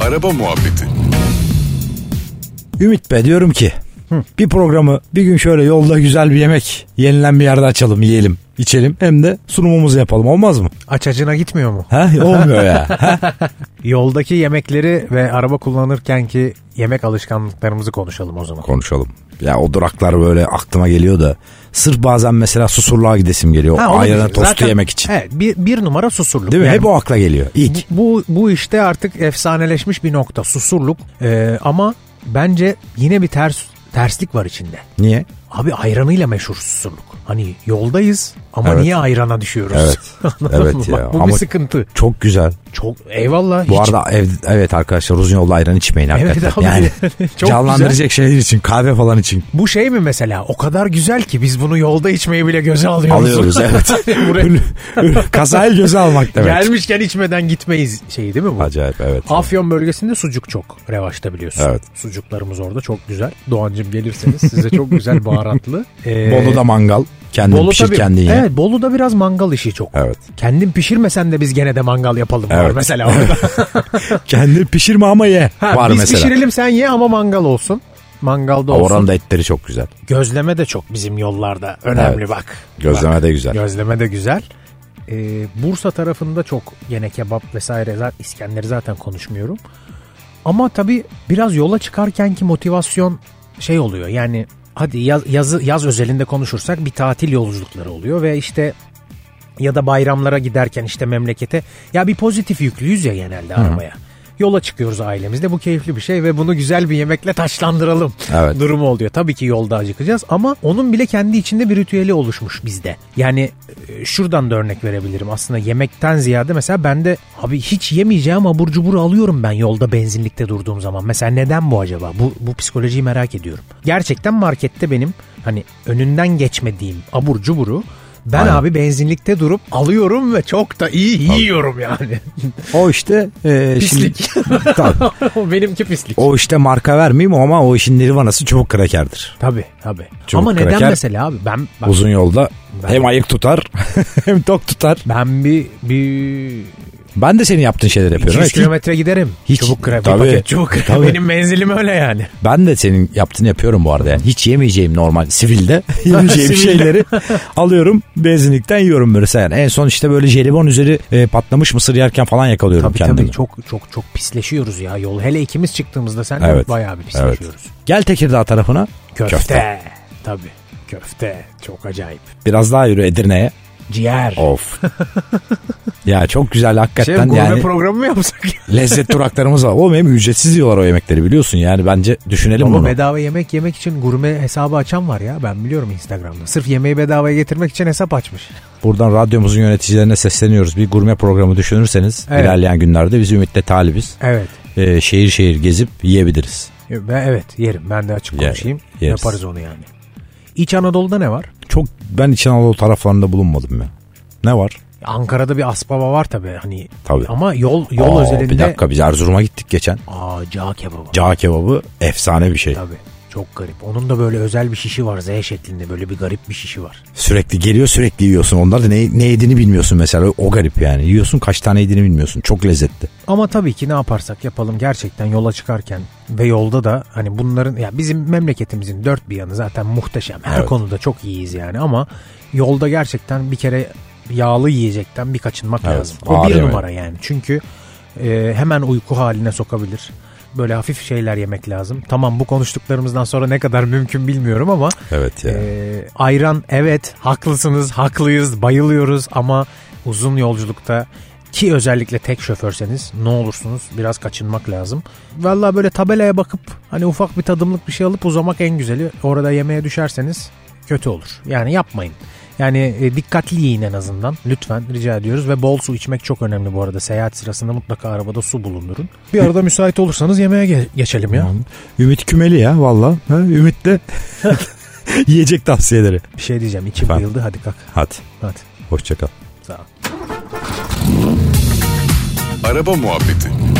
Araba Muhabbeti Ümit be diyorum ki bir programı bir gün şöyle yolda güzel bir yemek yenilen bir yerde açalım yiyelim içelim hem de sunumumuzu yapalım olmaz mı? Açacına gitmiyor mu? Ha olmuyor ya. Ha? Yoldaki yemekleri ve araba kullanırken ki yemek alışkanlıklarımızı konuşalım o zaman. Konuşalım. Ya o duraklar böyle aklıma geliyor da sırf bazen mesela susurluğa gidesim geliyor. Ha, onu Ayranı diyeceğim. tostu Zaten- yemek için. Evet bir, bir numara susurluk. Değil mi? Yani Hep o akla geliyor ilk. bu, bu işte artık efsaneleşmiş bir nokta susurluk Ee, ama bence yine bir ters terslik var içinde. Niye? Abi ayranıyla meşhur susurluk. Hani yoldayız ama Evet. niye ayrana düşüyoruz? Evet. Anladın Evet mı? ya. Bak, bu Ama- bir sıkıntı. Çok güzel. Çok eyvallah. Bu hiç- arada ev, evet arkadaşlar uzun yolda ayran içmeyin Evet hakikaten. abi. yani Çok güzel. canlandıracak şeyler için kahve falan için Bu şey mi mesela? O kadar güzel ki biz bunu yolda içmeyi bile göze alıyoruz. alıyoruz evet. Buraya- Kazayı göze almak demek. Gelmişken içmeden gitmeyiz şeyi değil mi bu? Acayip evet. Afyon bölgesinde sucuk çok revaçta biliyorsun. Evet. Sucuklarımız orada çok güzel. Doğancım gelirseniz size çok güzel baharatlı. Ee, Bolu'da mangal. Kendin Bolu pişir tabii- kendin ye. Evet Bolu'da biraz mangal işi çok. Evet. Kendin pişirmesen de biz gene de mangal yapalım var Evet. mesela orada. Kendin pişirme ama ye. Ha, Var biz mesela. pişirelim sen ye ama mangal olsun. Mangalda olsun. Oranın da etleri çok güzel. Gözleme de çok bizim yollarda önemli Evet. bak. Gözleme de güzel. Gözleme de güzel. Ee, Bursa tarafında çok gene kebap vesaire za- İskender'i zaten konuşmuyorum. Ama tabii biraz yola çıkarken ki motivasyon şey oluyor yani hadi yaz, yazı, yaz özelinde konuşursak bir tatil yolculukları oluyor ve işte ya da bayramlara giderken işte memlekete ya bir pozitif yüklüyüz ya genelde arabaya. Yola çıkıyoruz ailemizde bu keyifli bir şey ve bunu güzel bir yemekle taşlandıralım Evet. durumu oluyor. Tabii ki yolda acıkacağız ama onun bile kendi içinde bir ritüeli oluşmuş bizde. Yani e, şuradan da örnek verebilirim aslında yemekten ziyade mesela ben de abi hiç yemeyeceğim abur cubur alıyorum ben yolda benzinlikte durduğum zaman. Mesela neden bu acaba? Bu, bu psikolojiyi merak ediyorum. Gerçekten markette benim hani önünden geçmediğim abur cuburu ben abi benzinlikte durup alıyorum ve çok da iyi yiyorum yani. O işte e, Pislik. şimdi- Tabii. O Benimki pislik. o işte marka vermeyeyim ama o işin nirvanası çubuk krakerdir. Tabii tabii. Çubuk Ama neden kraker. mesela abi ben bak, Uzun yolda Ben- hem ayık tutar hem tok tutar. ben bir bir Ben de senin yaptığın şeyler yapıyorum. 200 Evet, kilometre giderim. Hiç- çubuk kre, tabii, bir paket çubuk kre. tabii. Benim menzilim öyle yani. Ben de senin yaptığını yapıyorum bu arada. Yani hiç yemeyeceğim normal sivilde. yemeyeceğim Sivilde. şeyleri alıyorum benzinlikten yiyorum böyle. Yani en son işte böyle jelibon üzeri e, patlamış mısır yerken falan yakalıyorum Tabii kendimi. tabii çok çok çok pisleşiyoruz ya yol. Hele ikimiz çıktığımızda sen de Evet. bayağı bir pisleşiyoruz. Gel Tekirdağ tarafına. Köfte. Köfte. Tabii. Köfte. Çok acayip. Biraz daha yürü Edirne'ye. Ciğer. Of. ya çok güzel Şey, hakikaten gurme yani programı mı yapsak? lezzet duraklarımız var. Oğlum hem ücretsiz diyorlar o yemekleri biliyorsun yani bence düşünelim Ama bunu. bedava yemek yemek için gurme hesabı açan var ya. Ben biliyorum Instagram'da. Sırf yemeği bedavaya getirmek için hesap açmış. Buradan radyomuzun yöneticilerine sesleniyoruz. Bir gurme programı düşünürseniz Evet. ilerleyen günlerde biz Ümit'le talibiz. Evet. Ee, şehir şehir gezip yiyebiliriz. Ben, evet yerim. Ben de açık Yer- konuşayım. yeriz. Yaparız onu yani. İç Anadolu'da ne var? Çok ben İç Anadolu taraflarında bulunmadım ya. Ne var? Ankara'da bir Aspava var tabi hani. Tabii. Ama yol yol Aa, özelinde. Bir dakika biz Erzurum'a gittik geçen. Aa cağ kebabı. Cağ kebabı efsane bir şey. Tabii. Çok garip. Onun da böyle özel bir şişi var Z şeklinde. Böyle bir garip bir şişi var. Sürekli geliyor sürekli yiyorsun. Onlar da ne, ne yediğini bilmiyorsun mesela. O garip yani. Yiyorsun kaç tane yediğini bilmiyorsun. Çok lezzetli. Ama tabii ki ne yaparsak yapalım gerçekten yola çıkarken ve yolda da hani bunların ya bizim memleketimizin dört bir yanı zaten muhteşem. Her Evet. konuda çok iyiyiz yani ama yolda gerçekten bir kere yağlı yiyecekten bir kaçınmak Evet, lazım. O ağır bir yemek. numara yani. Çünkü e, hemen uyku haline sokabilir. Böyle hafif şeyler yemek lazım. Tamam bu konuştuklarımızdan sonra ne kadar mümkün bilmiyorum ama Evet ya. ee, ayran evet haklısınız haklıyız bayılıyoruz ama uzun yolculukta ki özellikle tek şoförseniz ne olursunuz biraz kaçınmak lazım. Valla böyle tabelaya bakıp hani ufak bir tadımlık bir şey alıp uzamak en güzeli. Orada yemeğe düşerseniz kötü olur. Yani yapmayın. Yani e, dikkatli yiyin en azından. Lütfen rica ediyoruz ve bol su içmek çok önemli bu arada. Seyahat sırasında mutlaka arabada su bulundurun. Bir arada müsait olursanız yemeğe ge- geçelim ya. Ee, Ümit Kümeli ya valla. Ha, Ümit de yiyecek tavsiyeleri. Bir şey diyeceğim. İçim Efendim? bayıldı. Hadi kalk. Hadi Hadi. hoşçakal. Sağ ol. Araba Muhabbeti